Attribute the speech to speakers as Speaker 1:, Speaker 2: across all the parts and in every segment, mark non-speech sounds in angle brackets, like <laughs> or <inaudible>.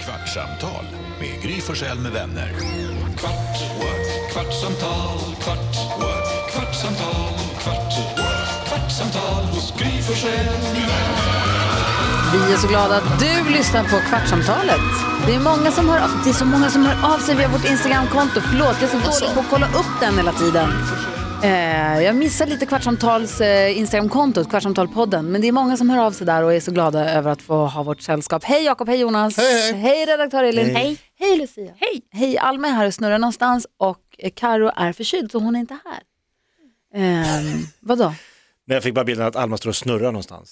Speaker 1: Kvartsamtal med Gry Forssell med vänner. Kvart, what? kvartsamtal, kvart, what? kvartsamtal, kvart, what? kvartsamtal hos Gry Forssell med vänner.
Speaker 2: Vi är så glada att du lyssnar på Kvartsamtalet. Det är, många som hör av, det är så många som hör av sig via vårt Instagramkonto. Förlåt, jag är så dålig på att kolla upp den hela tiden. Eh, jag missar lite Kvartsamtals eh, Instagramkonto, Kvartsamtalpodden. Men det är många som hör av sig där och är så glada över att få ha vårt sällskap. Hej Jakob, hej Jonas. Hej, hej. redaktör Elin. Hej. Hej Lucia. Hej. Hej, Alma är här och snurrar någonstans och eh, Karo är förkyld så hon är inte här. Ehm, vadå?
Speaker 3: Men jag fick bara bilden att Alma står och snurrar <laughs> någonstans.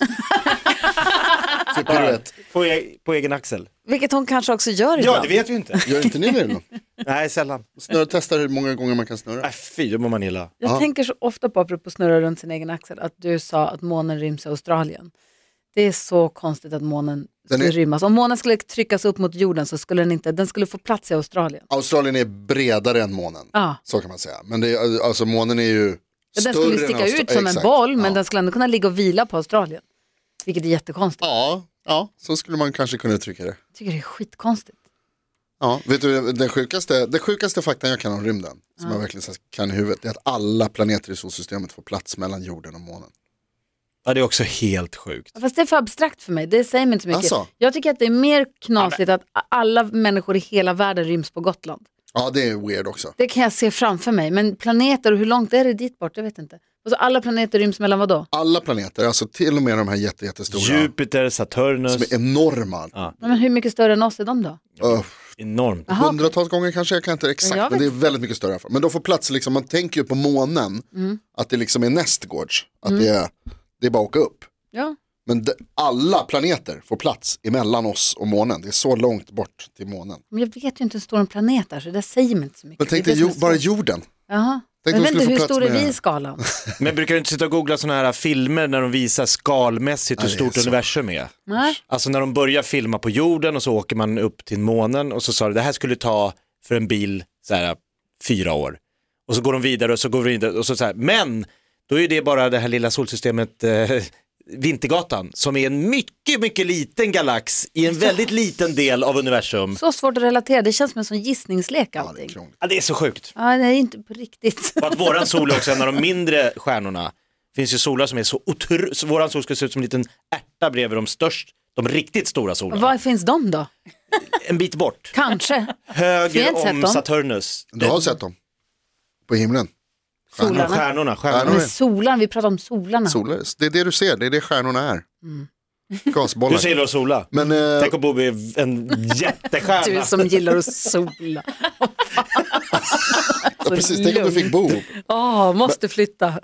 Speaker 4: Typ piruett.
Speaker 3: På, e- på egen axel.
Speaker 2: Vilket hon kanske också gör ibland.
Speaker 3: Ja, det vet vi ju inte.
Speaker 4: Gör inte ni det då?
Speaker 3: Nej, sällan.
Speaker 4: Snurra, testar hur många gånger man kan snurra.
Speaker 3: Nej, fy, då mår man illa.
Speaker 2: Jag tänker så ofta på, apropå snurra runt sin egen axel, att du sa att månen ryms i Australien. Det är så konstigt att månen
Speaker 4: Den
Speaker 2: skulle
Speaker 4: är-
Speaker 2: rymmas. Om månen skulle tryckas upp mot jorden så skulle den inte, den skulle få plats i Australien.
Speaker 4: Australien är bredare än månen.
Speaker 2: Ja.
Speaker 4: Så kan man säga. Men det är, alltså, månen är ju
Speaker 2: Ja, Den
Speaker 4: större
Speaker 2: skulle
Speaker 4: än
Speaker 2: sticka
Speaker 4: Austra-
Speaker 2: ut som en
Speaker 4: Exakt.
Speaker 2: boll, men
Speaker 4: ja.
Speaker 2: den skulle ändå kunna ligga och vila på Australien. Vilket är jättekonstigt.
Speaker 4: Ja, ja, så skulle man kanske kunna uttrycka det.
Speaker 2: Jag tycker det är skitkonstigt.
Speaker 4: Ja, vet du, den sjukaste, den sjukaste faktan jag kan om rymden, som jag verkligen så här kan i huvudet, det är att alla planeter i solsystemet får plats mellan jorden och månen.
Speaker 3: Ja, det är också helt sjukt.
Speaker 2: Fast det är för abstrakt för mig, det säger mig inte så mycket.
Speaker 4: Alltså?
Speaker 2: Jag tycker att det är mer knasigt att alla människor i hela världen ryms på Gotland.
Speaker 4: Ja, det är weird också.
Speaker 2: Det kan jag se framför mig, men planeter och hur långt är det dit bort? Jag vet inte. Och så alla planeter ryms mellan vad då?
Speaker 4: Alla planeter, alltså till och med de här jätte, jättestora,
Speaker 3: Jupiter, Saturnus,
Speaker 4: som är enorma,
Speaker 2: Nej, Men hur mycket större än oss är de då?
Speaker 4: Öh,
Speaker 3: enormt.
Speaker 2: Jaha,
Speaker 4: Hundratals gånger kanske, jag kan inte exakt,
Speaker 2: Jag
Speaker 4: men det är
Speaker 2: vet
Speaker 4: väldigt mycket större. i alla fall. Men de får plats, liksom, man tänker ju på månen,
Speaker 2: Mm.
Speaker 4: att det liksom är nästgårds, att det, är, det är bara att åka upp.
Speaker 2: Ja.
Speaker 4: Men de, alla planeter får plats emellan oss och månen, det är så långt bort till månen.
Speaker 2: Men jag vet ju inte hur stor en planet är så det säger mig inte så mycket.
Speaker 4: Men tänk
Speaker 2: Det är
Speaker 4: dig
Speaker 2: det som
Speaker 4: jo,
Speaker 2: är
Speaker 4: bara
Speaker 2: svårt.
Speaker 4: jorden,
Speaker 2: Jaha.
Speaker 4: Tänk
Speaker 2: jag
Speaker 4: om
Speaker 2: vet
Speaker 4: de
Speaker 2: inte
Speaker 4: skulle
Speaker 2: hur
Speaker 4: få plats
Speaker 2: stor är
Speaker 4: med-
Speaker 2: vi i skalan?
Speaker 3: Men brukar du inte sitta och googla sådana här filmer när de visar skalmässigt
Speaker 4: Ja,
Speaker 3: hur
Speaker 4: det är
Speaker 3: stort
Speaker 4: så.
Speaker 3: universum är?
Speaker 2: Nej.
Speaker 3: Alltså när de börjar filma på jorden och så åker man upp till månen och så sa de det här skulle ta för en bil så här, fyra år. Och så går de vidare och så går de vidare och så, så här, men då är det bara det här lilla solsystemet eh, Vintergatan som är en mycket, mycket liten galax i en väldigt liten del av universum.
Speaker 2: Så svårt att relatera, det känns som en sån gissningslek
Speaker 4: ja, det är
Speaker 2: allting.
Speaker 4: krångligt.
Speaker 3: Ja, det är så sjukt.
Speaker 2: Ja, det är inte på <laughs> riktigt.
Speaker 3: Och att våran sol är också en av de mindre stjärnorna. Det finns ju solar som är så otroligt, våran sol skulle se ut som en liten ärta bredvid de störst, de riktigt stora solarna.
Speaker 2: Var finns de då?
Speaker 3: En bit bort.
Speaker 2: Kanske. Vi har
Speaker 3: Höger
Speaker 2: inte sett
Speaker 3: om
Speaker 2: dem.
Speaker 3: Saturnus.
Speaker 4: Du har sett dem? På himlen?
Speaker 3: stjärnorna.
Speaker 2: Solarna.
Speaker 3: Stjärnorna,
Speaker 4: Stjärnor.
Speaker 3: stjärnorna.
Speaker 2: Men solarna, vi pratar om solarna.
Speaker 4: Solar, det är det du ser, det är det stjärnorna är.
Speaker 2: Mm.
Speaker 4: Gasbollar.
Speaker 3: Du ser gillar att sola.
Speaker 4: Men eh,
Speaker 3: Tänk om Bobby är en jättestjärna.
Speaker 2: Du som gillar att <laughs> sola.
Speaker 4: ja, precis, tänk om du
Speaker 2: <laughs>
Speaker 4: fick bo.
Speaker 2: Åh, måste flytta.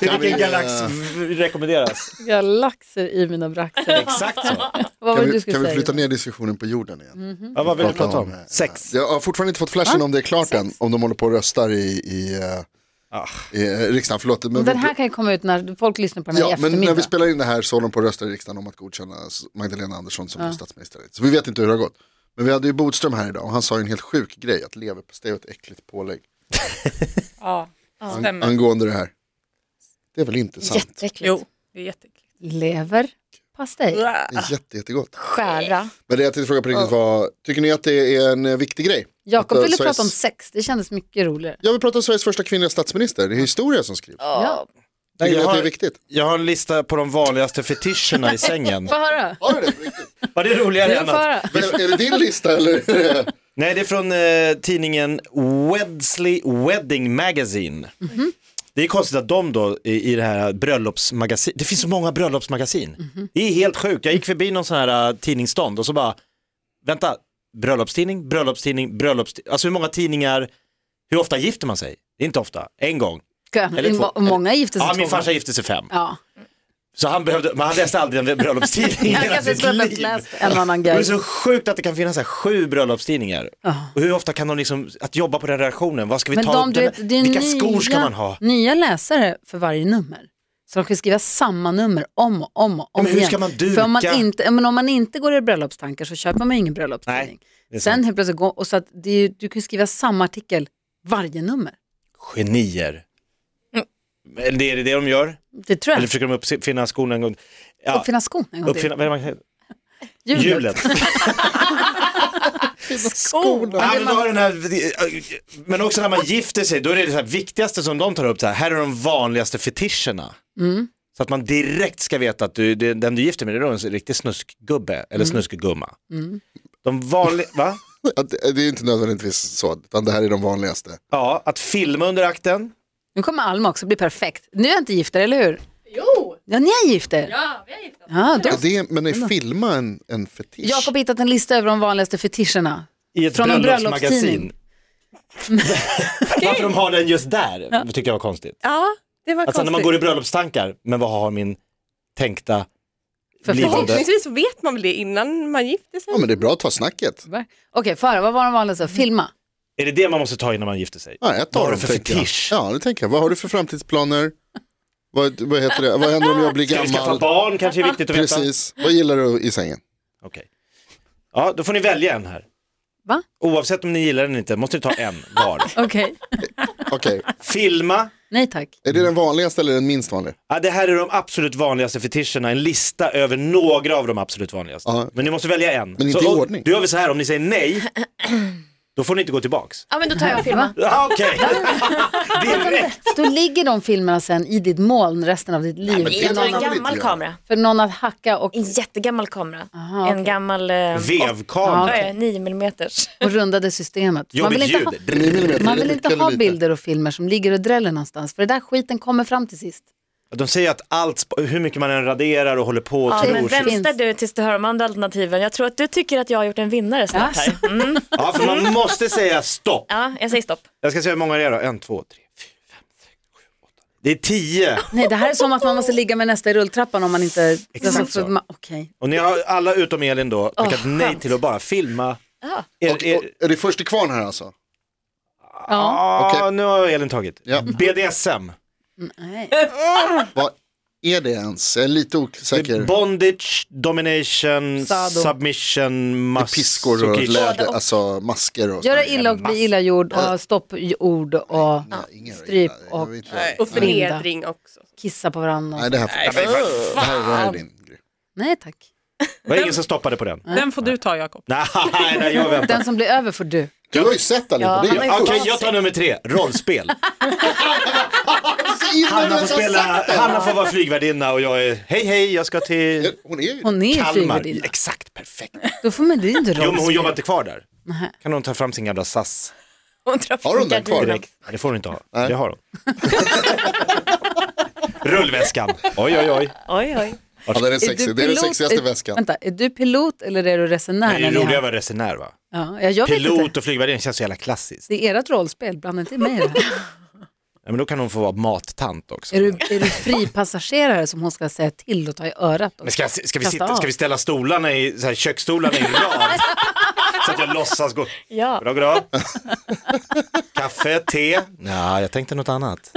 Speaker 3: Till
Speaker 4: Kan vi,
Speaker 3: vilken galax
Speaker 4: eh,
Speaker 3: v- rekommenderas?
Speaker 2: Galaxer i mina braxer.
Speaker 3: Exakt så.
Speaker 2: Vad var
Speaker 4: Kan
Speaker 2: det Mm. du
Speaker 4: vi,
Speaker 2: skulle
Speaker 4: kan vi
Speaker 2: säga?
Speaker 4: flytta ner diskussionen på jorden igen?
Speaker 3: Ja, vad vill du
Speaker 4: Prata
Speaker 3: prata
Speaker 4: om,
Speaker 3: om? eh, Sex.
Speaker 4: Jag har fortfarande inte fått flashen om det är klart än, om de håller på och röstar i, i, eh, i eh, riksdagen. Förlåt, men,
Speaker 2: Den
Speaker 4: vi-
Speaker 2: här kan ju komma ut när folk lyssnar på den här
Speaker 4: ja,
Speaker 2: i
Speaker 4: men
Speaker 2: eftermiddag.
Speaker 4: när vi spelar in det här så håller de på och röstar i riksdagen om att godkänna s- Magdalena Andersson som ny statsminister. Så vi vet inte hur det har gått. Men vi hade ju Bodström här idag och han sa ju en helt sjuk grej, att leverpastej är ett äckligt pålägg.
Speaker 5: Ja,
Speaker 4: An-
Speaker 5: stämmer.
Speaker 4: angående det här. Det är väl inte sant?
Speaker 2: Jätteäckligt.
Speaker 5: Jo, det är jätteäckligt.
Speaker 2: Lever, pastej,
Speaker 4: Det är jätte, jättegott.
Speaker 2: skära.
Speaker 4: Men det jag tänkte fråga på riktigt var, tycker ni att det är en eh, viktig grej?
Speaker 2: Jakob
Speaker 4: Att, eh,
Speaker 2: ville
Speaker 4: Sveriges-
Speaker 2: prata om sex, det kändes mycket roligare.
Speaker 4: Jag vill prata om Sveriges första kvinnliga statsminister, det är historia som skrivs.
Speaker 2: Ja.
Speaker 4: Tycker ni
Speaker 3: Jag
Speaker 4: att det är
Speaker 3: har,
Speaker 4: viktigt?
Speaker 3: jag har en lista på de vanligaste fetischerna i sängen.
Speaker 2: Få höra.
Speaker 4: Har du det? på riktigt?
Speaker 3: Var det roligare
Speaker 2: Jag
Speaker 3: än
Speaker 2: får
Speaker 3: att...
Speaker 2: höra.
Speaker 4: Men är det din lista <laughs> eller? är det-
Speaker 3: Nej, det är från eh, tidningen Wedsley Wedding Magazine.
Speaker 2: Mm-hmm.
Speaker 3: Det är konstigt att de då i, i det här bröllopsmagasin, det finns så många bröllopsmagasin.
Speaker 2: Mm-hmm.
Speaker 3: Det är helt sjukt, jag gick förbi någon sån här eh, tidningsstånd och så bara, vänta, bröllopstidning, bröllopstidning, bröllopstidning, alltså hur många tidningar, hur ofta gifter man sig? Det är inte ofta, en gång. Eller två.
Speaker 2: Må- Många gifte sig
Speaker 3: Ja,
Speaker 2: två
Speaker 3: min
Speaker 2: gånger.
Speaker 3: farsa gifte sig fem. <laughs>
Speaker 2: Ja.
Speaker 3: Så han behövde, men han läste aldrig en
Speaker 2: <laughs>
Speaker 3: bröllopstidning
Speaker 2: Han
Speaker 3: hela
Speaker 2: kanske
Speaker 3: sitt
Speaker 2: skulle ha
Speaker 3: liv.
Speaker 2: läst Alltså, en annan
Speaker 3: Det är
Speaker 2: grej.
Speaker 3: så sjukt att det kan finnas så här sju bröllopstidningar. Och hur ofta kan de liksom, att jobba på den redaktionen, vad ska vi
Speaker 2: Men
Speaker 3: ta,
Speaker 2: de, du
Speaker 3: den,
Speaker 2: vet, det är
Speaker 3: vilka
Speaker 2: nya,
Speaker 3: skor ska man ha?
Speaker 2: Nya läsare för varje nummer. Så de ska skriva samma nummer om och om och om
Speaker 3: men hur
Speaker 2: igen.
Speaker 3: ska man duka?
Speaker 2: För om man, inte, ja, men om man inte går i bröllopstankar så köper man ju ingen bröllopstidning.
Speaker 3: Nej, det är
Speaker 2: Sen
Speaker 3: sant.
Speaker 2: helt plötsligt går, och så att det är, ju- du kan ju skriva samma artikel varje nummer.
Speaker 3: Genier. Eller det är det det de gör?
Speaker 2: Det tror jag.
Speaker 3: Eller försöker de uppfinna skon en gång? Ja,
Speaker 2: uppfinna skon en gång till.
Speaker 3: uppfinna, vad är det man säger?
Speaker 2: Hjulet. <laughs>
Speaker 3: Hjulet.
Speaker 4: Skorna.
Speaker 3: Ja, men, då har den här, men också när man gifter sig, då är det det här viktigaste som de tar upp, så här, här är de vanligaste fetischerna.
Speaker 2: Mm.
Speaker 3: Så att man direkt ska veta att du, det, den du gifter med det är då en riktig snuskgubbe eller
Speaker 2: Mm.
Speaker 3: snuskgumma. De vanliga, va?
Speaker 4: Ja, eh, Det det är inte nödvändigtvis så, utan det här är de vanligaste.
Speaker 3: Ja, att filma under akten.
Speaker 2: Nu kommer Alma också bli perfekt. Nu är jag inte gifter, eller hur?
Speaker 5: Jo!
Speaker 2: Ja, ni är gifter.
Speaker 5: Ja, vi har gifta oss.
Speaker 2: Ja, då.
Speaker 4: Ja, det är, men är filma en, en fetisch?
Speaker 2: Jakob har hittat en lista över de vanligaste fetischerna.
Speaker 3: I ett
Speaker 2: Från en
Speaker 3: bröllopsmagasin.
Speaker 2: bröllopstidning.
Speaker 3: <laughs> Varför de har den just där tycker jag var konstigt.
Speaker 5: Ja, det var
Speaker 3: Alltså när man
Speaker 5: konstigt.
Speaker 3: går i bröllopstankar, men vad har min tänkta
Speaker 2: För
Speaker 3: blivande...
Speaker 5: Förhoppningsvis så vet man väl det innan man gifter sig.
Speaker 4: Ja, men det är bra att ta snacket.
Speaker 2: Okej, Farah, vad var de vanligaste? Filma.
Speaker 3: Är det det man måste ta innan man gifter sig?
Speaker 4: Ja, ett
Speaker 3: Vad har
Speaker 4: av dem
Speaker 3: du för
Speaker 4: tänker jag.
Speaker 3: fetisch?
Speaker 4: Ja, det tänker jag. Vad har du för framtidsplaner? Vad, vad heter det? Vad händer om jag blir
Speaker 3: Ska vi skaffa
Speaker 4: gammal?
Speaker 3: barn kanske är viktigt att veta?
Speaker 4: Precis. Vad gillar du i sängen?
Speaker 3: Okej. Ja, då får ni välja en här.
Speaker 2: Va?
Speaker 3: Oavsett om ni gillar den eller inte måste ni ta en
Speaker 2: <laughs>
Speaker 3: var.
Speaker 2: Okej.
Speaker 4: Okej,
Speaker 3: Filma.
Speaker 2: Nej tack.
Speaker 4: är det den vanligaste eller den minst vanliga?
Speaker 3: Ja, det här är de absolut vanligaste fetischerna, en lista över några av de absolut vanligaste.
Speaker 4: Ja.
Speaker 3: Men ni måste välja en.
Speaker 4: Men inte
Speaker 3: Så,
Speaker 4: i
Speaker 3: och-
Speaker 4: ordning.
Speaker 3: Då gör vi så här, om ni säger nej, då får ni inte gå tillbaks.
Speaker 6: Ja men då tar jag filmen.
Speaker 3: Ja,
Speaker 6: <laughs>
Speaker 3: Okej, direkt.
Speaker 2: Då ligger de filmerna sen i ditt moln resten av ditt liv.
Speaker 6: Jag tar en
Speaker 4: man väl
Speaker 6: gammal
Speaker 4: inte göra.
Speaker 6: kamera.
Speaker 2: För någon att hacka och,
Speaker 6: En jättegammal kamera.
Speaker 2: Aha, okej.
Speaker 6: En gammal... Eh,
Speaker 3: Vevkam.
Speaker 6: åtta- eh, 9 millimeters.
Speaker 2: och rundade systemet. Man vill,
Speaker 3: Jobbigt
Speaker 2: inte ha,
Speaker 4: Nio
Speaker 3: ljud.
Speaker 4: millimeter,
Speaker 2: man
Speaker 4: är det
Speaker 2: vill
Speaker 4: mycket
Speaker 2: inte
Speaker 4: eller
Speaker 2: ha
Speaker 4: lite?
Speaker 2: bilder och filmer som ligger och dräller någonstans. För det där skiten kommer fram till sist.
Speaker 3: De säger att allt, sp- hur mycket man än raderar och håller på och
Speaker 6: Ja, men
Speaker 3: tror. sig-
Speaker 6: vänster
Speaker 2: Finns.
Speaker 6: du tills du hör de andra alternativen. Jag tror att du tycker att jag har gjort en vinnare snart här. Mm.
Speaker 3: Ja, för man måste säga stopp.
Speaker 6: Ja, jag säger stopp.
Speaker 3: Jag ska se hur många det är då. En, två, tre, fyra, fem, sex, sju, åtta. Det är tio.
Speaker 2: Nej, det här är som att man måste ligga med nästa i rulltrappan om man inte...
Speaker 3: Exakt
Speaker 2: Alltså, för
Speaker 3: så.
Speaker 2: man- Okej.
Speaker 3: Och ni har alla utom Elin då tackat nej till att bara filma. Er,
Speaker 4: Och,
Speaker 3: er,
Speaker 4: och, är det först till kvarn här alltså?
Speaker 2: Ja.
Speaker 3: ah,
Speaker 4: Okej.
Speaker 3: Nu har Elin tagit.
Speaker 4: Ja.
Speaker 3: BDSM,
Speaker 2: Nej.
Speaker 4: Vad är det ens? Jag är lite osäker.
Speaker 3: bondage, domination,
Speaker 2: Sado.
Speaker 3: submission,
Speaker 4: Med piskor och
Speaker 3: masochism.
Speaker 4: läder, alltså masker och
Speaker 2: Göra
Speaker 4: sådär.
Speaker 2: illa och bli illagjord och stoppord och
Speaker 4: Nej, ingen är
Speaker 2: stryp
Speaker 4: illa. Jag
Speaker 2: och
Speaker 4: vet inte.
Speaker 5: Och förnedring också.
Speaker 2: kissa på varandra.
Speaker 4: Nej, det här, det här, det här är din grej.
Speaker 2: Nej tack.
Speaker 3: Det var ingen som stoppade på den.
Speaker 5: Den får du ta Jakob.
Speaker 3: Nej, nej, jag väntar.
Speaker 2: Den som blir över får du.
Speaker 4: Du har ju sett allihopa. Det är ju
Speaker 3: Okej, jag tar nummer tre, rollspel.
Speaker 4: så illa när
Speaker 3: Hanna får,
Speaker 4: jag har
Speaker 3: spela,
Speaker 4: sagt det.
Speaker 3: Hanna får vara flygvärdinna och jag är, hej hej, jag ska till
Speaker 4: Hon är ju
Speaker 2: Hon är ju
Speaker 3: Kalmar.
Speaker 2: flygvärdinna.
Speaker 3: Exakt, perfekt.
Speaker 2: Då får man det är ju inte
Speaker 3: Jo, men hon
Speaker 2: rollspel.
Speaker 3: jobbar inte kvar där. Kan hon ta fram sin gamla SAS?
Speaker 6: Hon drar
Speaker 4: Har hon den
Speaker 6: gardinerna.
Speaker 4: kvar?
Speaker 3: Direkt. Nej, det får hon inte ha. Det har hon. Rullväskan. Oj, oj, oj.
Speaker 6: Oj, oj.
Speaker 4: Ja, det, är den
Speaker 2: Är du
Speaker 4: sexi- det är den
Speaker 2: pilot-
Speaker 4: sexigaste
Speaker 2: är-
Speaker 4: väskan.
Speaker 2: Vänta, är du pilot eller är du resenär?
Speaker 3: Det är
Speaker 2: när ni
Speaker 3: ju roligare att
Speaker 2: har-
Speaker 3: vara resenär va?
Speaker 2: Ja, ja, jag vet inte.
Speaker 3: Pilot och flygvärdinna känns så jävla klassiskt.
Speaker 2: Det är ert rollspel, blanda inte mig i det här.
Speaker 3: Ja, men då kan hon få vara mattant också.
Speaker 2: Är du, är du fripassagerare som hon ska säga till och ta i örat?
Speaker 3: Men
Speaker 2: Också?
Speaker 3: ska, ska, vi
Speaker 2: Kasta
Speaker 3: sitta,
Speaker 2: av.
Speaker 3: ska vi ställa stolarna i, så här, köksstolarna
Speaker 2: <laughs>
Speaker 3: i rad? så att jag låtsas gå.
Speaker 6: Ja.
Speaker 3: Goddag, goddag. Kaffe, te? Ja, jag tänkte något annat.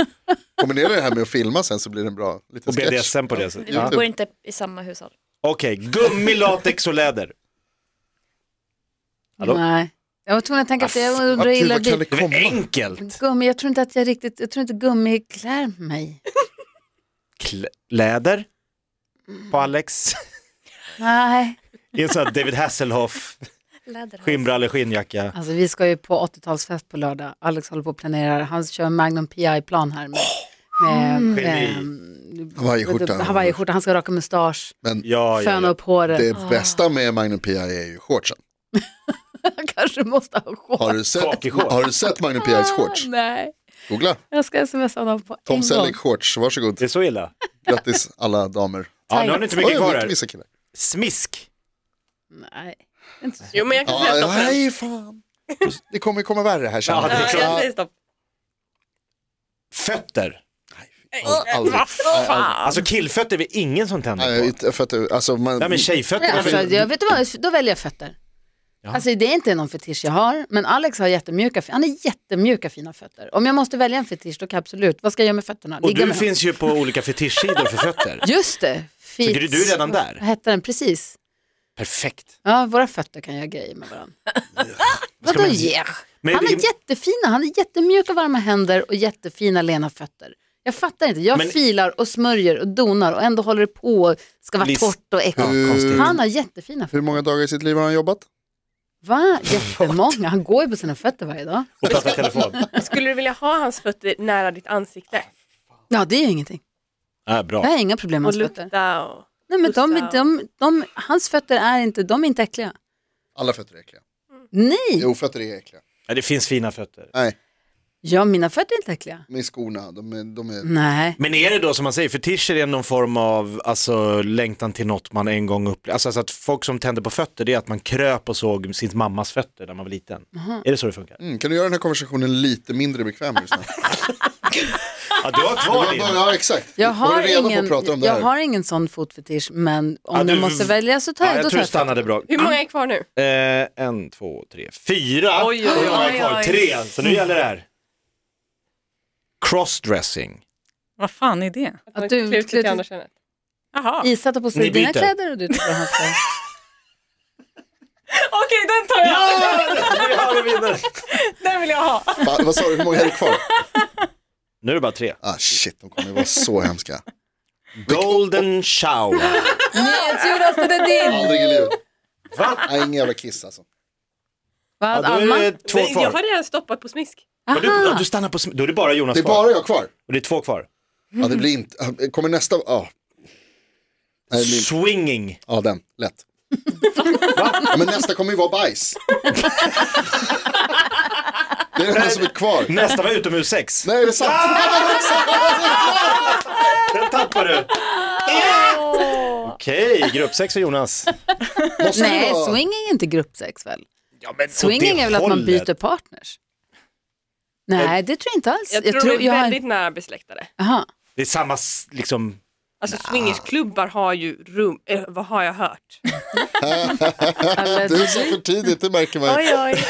Speaker 4: Kombinera det här med att filma sen så blir det en bra liten
Speaker 3: Och
Speaker 4: sketch.
Speaker 3: BDSM på det sättet.
Speaker 6: Vi
Speaker 3: Ja.
Speaker 6: bor inte i samma hushåll.
Speaker 3: Okej, gummi, latex och läder. Hallå?
Speaker 2: Nej. Jag var tvungen att tänka efter, jag
Speaker 4: Ja,
Speaker 2: undrar
Speaker 4: gud,
Speaker 2: illa
Speaker 4: vad kan det
Speaker 2: dit.
Speaker 3: Det var
Speaker 4: komma?
Speaker 3: enkelt.
Speaker 2: Gummi, jag tror inte att jag riktigt, jag tror inte gummi klär mig.
Speaker 3: Kl- läder? På Alex?
Speaker 2: Nej.
Speaker 3: I en sån här David Hasselhoff,
Speaker 6: Läder.
Speaker 3: skinnbrallor, skinnjacka.
Speaker 2: Alltså vi ska ju på 80-talsfest på lördag. Alex håller på och planerar. Han kör en Magnum PI-plan här med, med, med,
Speaker 4: Hawaiiskjorta.
Speaker 2: Hawaii-skjorta. Han ska raka mustasch,
Speaker 4: Men
Speaker 3: Ja, ja,
Speaker 2: föna
Speaker 3: ja.
Speaker 2: upp håret.
Speaker 4: det bästa med Magnum P.I. är ju shortsen.
Speaker 2: Han kanske måste ha
Speaker 4: Har
Speaker 2: shorts.
Speaker 4: du sett,
Speaker 3: Kakig shorts.
Speaker 4: har du sett Magnum P.I.s shorts?
Speaker 2: <laughs> Nej,
Speaker 4: Googla.
Speaker 2: jag ska smsa honom på
Speaker 4: Tom
Speaker 2: en gång.
Speaker 4: Selleck shorts, varsågod.
Speaker 3: Det är så illa?
Speaker 4: Grattis alla damer.
Speaker 3: Ja, nu har ni inte
Speaker 4: Oj,
Speaker 3: mycket kvar
Speaker 4: inte
Speaker 3: här.
Speaker 4: vissa killar.
Speaker 3: Smisk.
Speaker 2: Nej.
Speaker 5: Jo men jag kan säga
Speaker 4: Ja,
Speaker 5: stopp. nu.
Speaker 4: nej fan. Det kommer komma värre här sen.
Speaker 3: Ja, det är
Speaker 5: Ja, jag säger stopp.
Speaker 3: Fötter.
Speaker 4: aldrig.
Speaker 5: Vad fan.
Speaker 3: Alltså killfötter är väl ingen som tänder på?
Speaker 4: Nej, för att, du- alltså, man,
Speaker 3: Nej men tjejfötter.
Speaker 2: Nej, alltså,
Speaker 3: varför-
Speaker 2: jag vet du vad, då väljer jag fötter. Alltså det är inte någon fetisch jag har, men Alex har jättemjuka, han har jättemjuka fina fötter. Om jag måste välja en fetisch då kan jag absolut, vad ska jag göra med fötterna?
Speaker 3: Och du
Speaker 2: med dem?
Speaker 3: finns ju på olika fetischsidor för fötter.
Speaker 2: Just det,
Speaker 3: Så
Speaker 2: fit.
Speaker 3: du du är redan där.
Speaker 2: Vad hette den, precis.
Speaker 3: Perfekt.
Speaker 2: Ja, våra fötter kan göra grejer med varandra. Vadå
Speaker 3: man-
Speaker 2: yeah?
Speaker 3: Men
Speaker 2: Han
Speaker 3: det-
Speaker 2: har jättefina, han har jättemjuka varma händer och jättefina lena fötter. Jag fattar inte. Jag
Speaker 3: Men-
Speaker 2: filar och smörjer och donar och ändå håller det på och ska vara
Speaker 3: Lis-
Speaker 2: torrt och äckligt.
Speaker 4: Hur,
Speaker 2: Han har jättefina fötter.
Speaker 4: hur många dagar i sitt liv har han jobbat?
Speaker 2: Va? Jättemånga. Han går ju på sina fötter varje dag.
Speaker 3: och prata i telefon.
Speaker 5: Skulle du vilja ha hans fötter nära ditt ansikte?
Speaker 2: Ja, det är ju ingenting.
Speaker 3: Äh,
Speaker 2: Jag
Speaker 3: bra.
Speaker 2: har inga problem med
Speaker 5: Och
Speaker 2: hans fötter.
Speaker 5: lukta och...
Speaker 2: Nej, men de, de,
Speaker 5: pussa.
Speaker 2: de, hans fötter är inte, de är inte äckliga.
Speaker 4: Alla fötter är äckliga.
Speaker 2: Nej,
Speaker 4: Jo, fötter är äckliga.
Speaker 3: Ja, det finns fina fötter.
Speaker 4: Nej,
Speaker 2: ja, mina fötter är inte äckliga.
Speaker 4: med skorna. De är, de är...
Speaker 2: Nej.
Speaker 3: Men är det då som man säger, fetischer är någon form av alltså, längtan till något man en gång upplevde. Alltså, alltså att folk som tänder på fötter, det är att man kröp och såg sin mammas fötter när man var liten. Är det så det funkar?
Speaker 4: Mm, kan du göra den här konversationen lite mindre bekväm just nu?
Speaker 3: Ja, du har kvar
Speaker 4: <laughs> Ja,
Speaker 3: din.
Speaker 4: ja, exakt.
Speaker 2: Jag
Speaker 4: Var
Speaker 2: har,
Speaker 4: du redo på
Speaker 2: ingen,
Speaker 4: att prata om det
Speaker 2: jag
Speaker 4: här?
Speaker 2: har ingen sån fotfetisch, men om
Speaker 3: Ja,
Speaker 2: jag
Speaker 3: du-
Speaker 2: måste välja så tar
Speaker 3: Ja,
Speaker 2: jag, då
Speaker 3: jag
Speaker 2: tar
Speaker 3: tror det
Speaker 2: jag fötter.
Speaker 3: stannade bra.
Speaker 5: Hur många är kvar nu?
Speaker 3: Eh, en, två, tre, fyra.
Speaker 5: Oj, oj,
Speaker 3: och jag har
Speaker 6: oj,
Speaker 3: kvar
Speaker 6: oj.
Speaker 3: tre, så nu gäller det här. Crossdressing.
Speaker 7: Vad fan är det?
Speaker 5: Att, att
Speaker 2: du-
Speaker 5: du klivit lite i
Speaker 2: du-
Speaker 5: andra könet. Jaha. Okej,
Speaker 2: Isa tar på sig
Speaker 3: Ni
Speaker 2: dina
Speaker 3: byter.
Speaker 2: kläder och du tar på hans kläder.
Speaker 5: den tar jag! Den vill jag ha.
Speaker 4: Va, vad sa du, hur många är det kvar? <laughs>
Speaker 3: Nu är det bara tre.
Speaker 4: Ah shit, de kommer vara så hemska.
Speaker 3: Golden shower.
Speaker 2: NyhetsJonas, den är din!
Speaker 4: Aldrig i livet.
Speaker 3: Va?
Speaker 4: Nej, ingen jävla kiss alltså.
Speaker 2: Vad,
Speaker 3: Ja, då
Speaker 2: Alma?
Speaker 3: är det två
Speaker 5: Men jag har
Speaker 3: kvar.
Speaker 5: redan stoppat på smisk.
Speaker 3: Och Du, ja, du stannar på, sm- då är det bara Jonas
Speaker 4: Det är
Speaker 3: kvar.
Speaker 4: bara jag kvar.
Speaker 3: Och det är två kvar.
Speaker 4: Ja, det blir inte, kommer nästa, ja. Nej, det blir inte.
Speaker 3: Swinging.
Speaker 4: Ja, den, lätt. Ja, men nästa kommer ju vara bajs. Det är den enda som är kvar.
Speaker 3: Nästa var utomhussex.
Speaker 4: Nej, det är sant.
Speaker 3: <laughs> Den tappar du. Okej, gruppsex för Jonas.
Speaker 4: Måste det
Speaker 2: Nej,
Speaker 4: vara-
Speaker 2: swinging är inte gruppsex väl?
Speaker 3: Ja, men åt
Speaker 2: Swinging
Speaker 3: det
Speaker 2: är väl att man
Speaker 3: hållet.
Speaker 2: byter partners? Nej, det tror jag inte alls.
Speaker 5: Jag, tror, de är
Speaker 2: jag har-
Speaker 5: väldigt nära besläktade.
Speaker 2: Aha.
Speaker 3: Det är samma, s- liksom,
Speaker 5: Alltså swingersklubbar har ju rum, eh, vad har jag hört?
Speaker 4: Du sa för tidigt, det märker man ju.
Speaker 6: Oj, oj.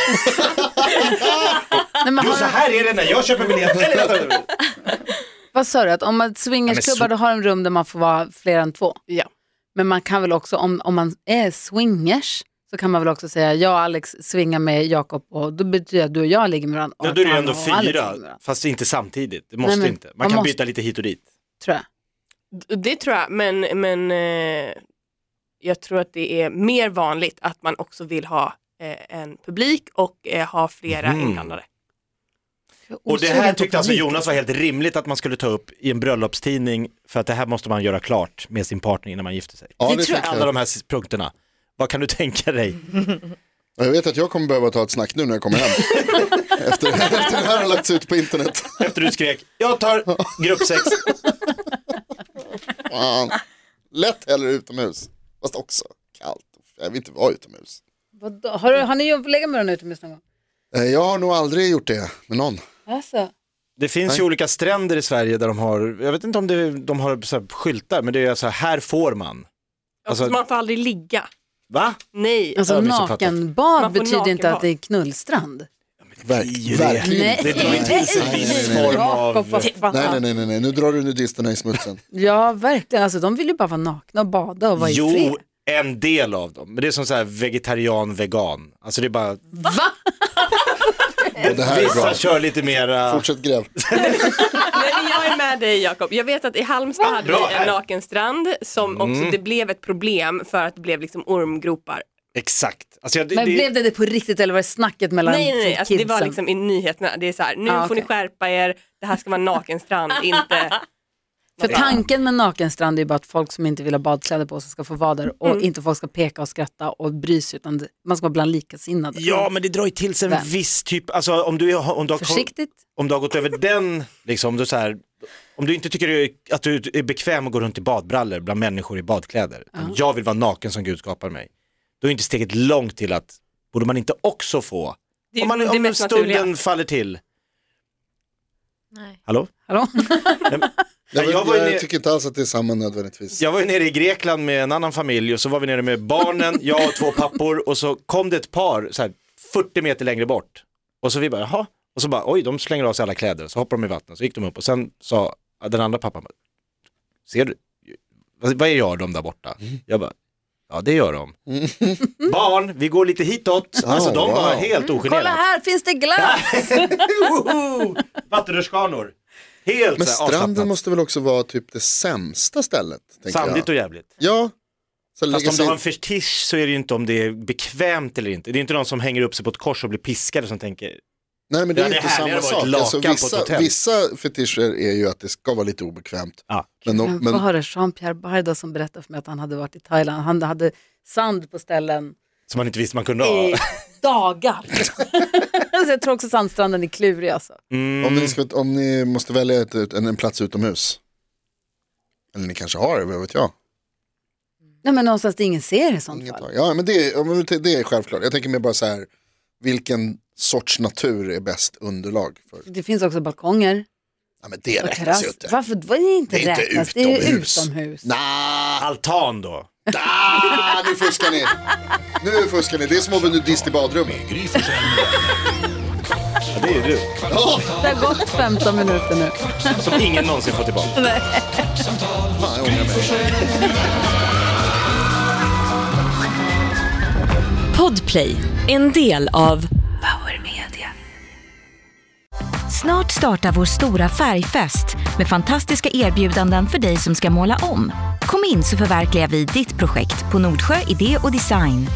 Speaker 2: Nej, men
Speaker 3: jo så
Speaker 2: har,
Speaker 3: här är det när jag köper biljetter. Eller
Speaker 4: <laughs>
Speaker 3: vänta,
Speaker 2: vad sa du, att om man swingersklubbar
Speaker 3: Ja, men
Speaker 2: då har de rum där man får vara fler än två?
Speaker 5: Ja.
Speaker 2: Men man kan väl också, om, om man är swingers, så kan man väl också säga jag och Alex swingar med Jakob och då betyder det att du och jag ligger med varandra. och
Speaker 3: Ja, då är det ju
Speaker 2: han
Speaker 3: ändå
Speaker 2: och Alex ligger
Speaker 3: fyra,
Speaker 2: med varandra,
Speaker 3: fast inte samtidigt. Det måste
Speaker 2: men
Speaker 3: inte. Man
Speaker 2: man
Speaker 3: kan
Speaker 2: måste.
Speaker 3: byta lite hit och dit.
Speaker 2: Tror jag.
Speaker 5: D- Det tror jag, men, men eh, jag tror att det är mer vanligt att man också vill ha eh, en publik och eh, ha flera
Speaker 3: Mhm.
Speaker 5: inblandade.
Speaker 3: Och det
Speaker 2: Osugen
Speaker 3: här
Speaker 2: på
Speaker 3: tyckte alltså
Speaker 2: publik.
Speaker 3: Jonas var helt rimligt att man skulle ta upp i en bröllopstidning för att det här måste man göra klart med sin partner innan man gifter sig.
Speaker 4: Ja, det
Speaker 2: tror
Speaker 4: tycker
Speaker 3: Alla de här s- punkterna. Vad kan du tänka dig?
Speaker 4: Ja, Jag vet att jag kommer behöva ta ett snack nu när jag kommer hem. efter, <laughs> efter det här har lagts ut på internet.
Speaker 3: Efter du skrek, jag tar gruppsex.
Speaker 4: Fan. Lätt hellre utomhus. Fast också kallt. Jag vill inte vara utomhus.
Speaker 2: Vadå? Har, du, har ni jobbat lägga med den utomhus någon gång?
Speaker 4: Eh, Jag har nog aldrig gjort det med någon.
Speaker 2: Alltså.
Speaker 3: Det finns ju olika stränder i Sverige där de har, jag vet inte om det, de har så här skyltar, men det är så här, här får man. Alltså-
Speaker 5: Alltså, man får aldrig ligga.
Speaker 3: Va?
Speaker 5: Nej.
Speaker 2: Alltså
Speaker 3: Jag har missuppfattat.
Speaker 2: nakenbad
Speaker 5: Man får
Speaker 2: betyder inte att
Speaker 5: nakenbad.
Speaker 2: det är knullstrand.
Speaker 3: Det är
Speaker 4: Verk,
Speaker 3: det.
Speaker 4: verkligen
Speaker 2: Nej.
Speaker 3: Det
Speaker 4: inte.
Speaker 3: drar ju till sig en
Speaker 2: <laughs>
Speaker 4: Nej, nej,
Speaker 3: viss
Speaker 4: nej.
Speaker 3: form
Speaker 2: Jakob,
Speaker 3: av...
Speaker 2: vad fan.
Speaker 4: Nej, nej, nej, nej, nej, nu drar du nudisterna i smutsen.
Speaker 2: Ja, verkligen. Alltså, de vill ju bara vara nakna och bada och vara i fred.
Speaker 3: Jo, en del av dem. Men det är som så här vegetarian, vegan. Alltså det är bara,
Speaker 2: Va?
Speaker 4: Och det här är
Speaker 3: vissa
Speaker 4: bra.
Speaker 3: kör lite äh, mera...
Speaker 4: Fortsätt gräv.
Speaker 5: Nej, men jag är med dig Jakob. Jag vet att i Halmstad hade
Speaker 3: Ah, Bra. Mm.
Speaker 5: vi en nakenstrand som också det blev ett problem för att det blev liksom ormgropar.
Speaker 3: Exakt. Alltså jag, det,
Speaker 2: Men
Speaker 3: det-
Speaker 2: blev det det på riktigt eller var det snacket mellan
Speaker 5: Nej, nej, nej. Alltså, det var
Speaker 2: kidsen?
Speaker 5: liksom i nyheterna. Det är så här, nu
Speaker 2: Ah,
Speaker 5: får
Speaker 2: okej.
Speaker 5: ni skärpa er. Det här ska
Speaker 2: <laughs>
Speaker 5: vara nakenstrand, inte...
Speaker 2: För tanken med nakenstrand är ju bara att folk som inte vill ha badkläder på sig ska få vara där och inte folk ska peka och skratta och bry sig utan det- man ska vara bland likasinnade.
Speaker 3: Ja, men det drar ju till sig en
Speaker 2: Vem?
Speaker 3: viss typ, alltså om du, har- om du, har,
Speaker 2: Försiktigt.
Speaker 3: om du har gått över den, liksom, du så här, om du inte tycker det är- att du är bekväm att gå runt i badbrallor bland människor i badkläder, utan jag vill vara naken som Gud skapar mig, då är inte steget långt till att, borde man inte också få,
Speaker 5: Det är
Speaker 3: om, man,
Speaker 5: det är
Speaker 3: om
Speaker 5: mest
Speaker 3: stunden
Speaker 5: naturliga.
Speaker 3: faller till.
Speaker 6: Nej.
Speaker 3: Hallå?
Speaker 2: Hallå?
Speaker 4: Jag,
Speaker 3: Nej, jag var ju
Speaker 4: jag,
Speaker 3: ner-
Speaker 4: tycker inte alls att det är samma nödvändigtvis.
Speaker 3: Jag var ju nere i Grekland med en annan familj och så var vi nere med barnen,
Speaker 4: <laughs>
Speaker 3: jag och två pappor och så kom det ett par så här, 40 meter längre bort. Och så vi bara, jaha, och så bara, oj, de slänger av sig alla kläder, så hoppar de i vattnet, så gick de upp och sen sa den andra pappan, bara, ser du, vad vad gör de där borta? Jag bara, ja det
Speaker 4: <laughs>
Speaker 3: gör de. Barn, vi går lite hitåt, alltså
Speaker 4: Oh,
Speaker 3: de var
Speaker 4: wow.
Speaker 2: <laughs>
Speaker 3: helt ogenerat. <laughs>
Speaker 2: Kolla här finns det glass!
Speaker 3: Vattenrutschkanor. Helt
Speaker 4: Men
Speaker 3: så här avslappnat.
Speaker 4: stranden måste väl också vara typ det sämsta stället? tänker
Speaker 3: Sandigt
Speaker 4: jag.
Speaker 3: och jävligt.
Speaker 4: Ja. Så
Speaker 3: Fast
Speaker 4: lägga
Speaker 3: om du
Speaker 4: sig...
Speaker 3: har en fetisch så är det ju inte om det är bekvämt eller inte. Det är inte någon som hänger upp sig på ett kors och blir piskad och som tänker,
Speaker 4: Nej men det
Speaker 3: Ja,
Speaker 4: är
Speaker 3: det är
Speaker 4: inte
Speaker 3: härligare
Speaker 4: samma
Speaker 3: att vara
Speaker 4: sak.
Speaker 3: ett lakan
Speaker 4: Alltså,
Speaker 3: på ett
Speaker 4: vissa,
Speaker 3: hotell.
Speaker 4: vissa fetischer är ju att det ska vara lite obekvämt.
Speaker 3: ja.
Speaker 4: Men, de-
Speaker 2: Men,
Speaker 4: men
Speaker 2: Vad var det Jean-Pierre Barda som berättade för mig att han hade varit i Thailand? Han hade sand på ställen
Speaker 3: som man inte visste man kunde
Speaker 2: i
Speaker 3: ha.
Speaker 2: dagar. <laughs> alltså jag tror också sandstranden är klurig alltså.
Speaker 4: om, ni ska, om ni måste välja ett, ut- en, en plats utomhus. Eller ni kanske har det, vad vet jag.
Speaker 2: Nej men någonstans där ingen ser i sånt
Speaker 4: Inget
Speaker 2: fall.
Speaker 4: tag. Ja men det, ja, men det är självklart. Jag tänker mer bara så här, vilken sorts natur är bäst underlag för?
Speaker 2: Det finns också balkonger
Speaker 4: Ja men det
Speaker 2: och
Speaker 4: räknas
Speaker 2: terrass.
Speaker 4: ju inte.
Speaker 2: Varför? Det är inte
Speaker 4: Det är inte
Speaker 2: räknas, det är ju
Speaker 4: utomhus.
Speaker 2: utomhus.
Speaker 4: Nah,
Speaker 3: Altan då.
Speaker 4: nah, Ah, nu fuskar ni. Nu fuskar ni, det är som att vara nudist i badrummet.
Speaker 1: Gry Forssell med vänner. Kvart,
Speaker 3: Ja, det är du.
Speaker 2: Det har gått 15 minuter nu.
Speaker 3: Som ingen någonsin får tillbaka.
Speaker 1: kvartsamtal hos
Speaker 4: Fan, Ah, jag
Speaker 1: Gry
Speaker 4: ångrar mig.
Speaker 1: Forssell med vänner.
Speaker 7: Podplay, en del av
Speaker 8: Power Media.
Speaker 7: Snart startar vår stora färgfest med fantastiska erbjudanden för dig som ska måla om. Kom in så förverkligar vi ditt projekt på Nordsjö Idé och Design.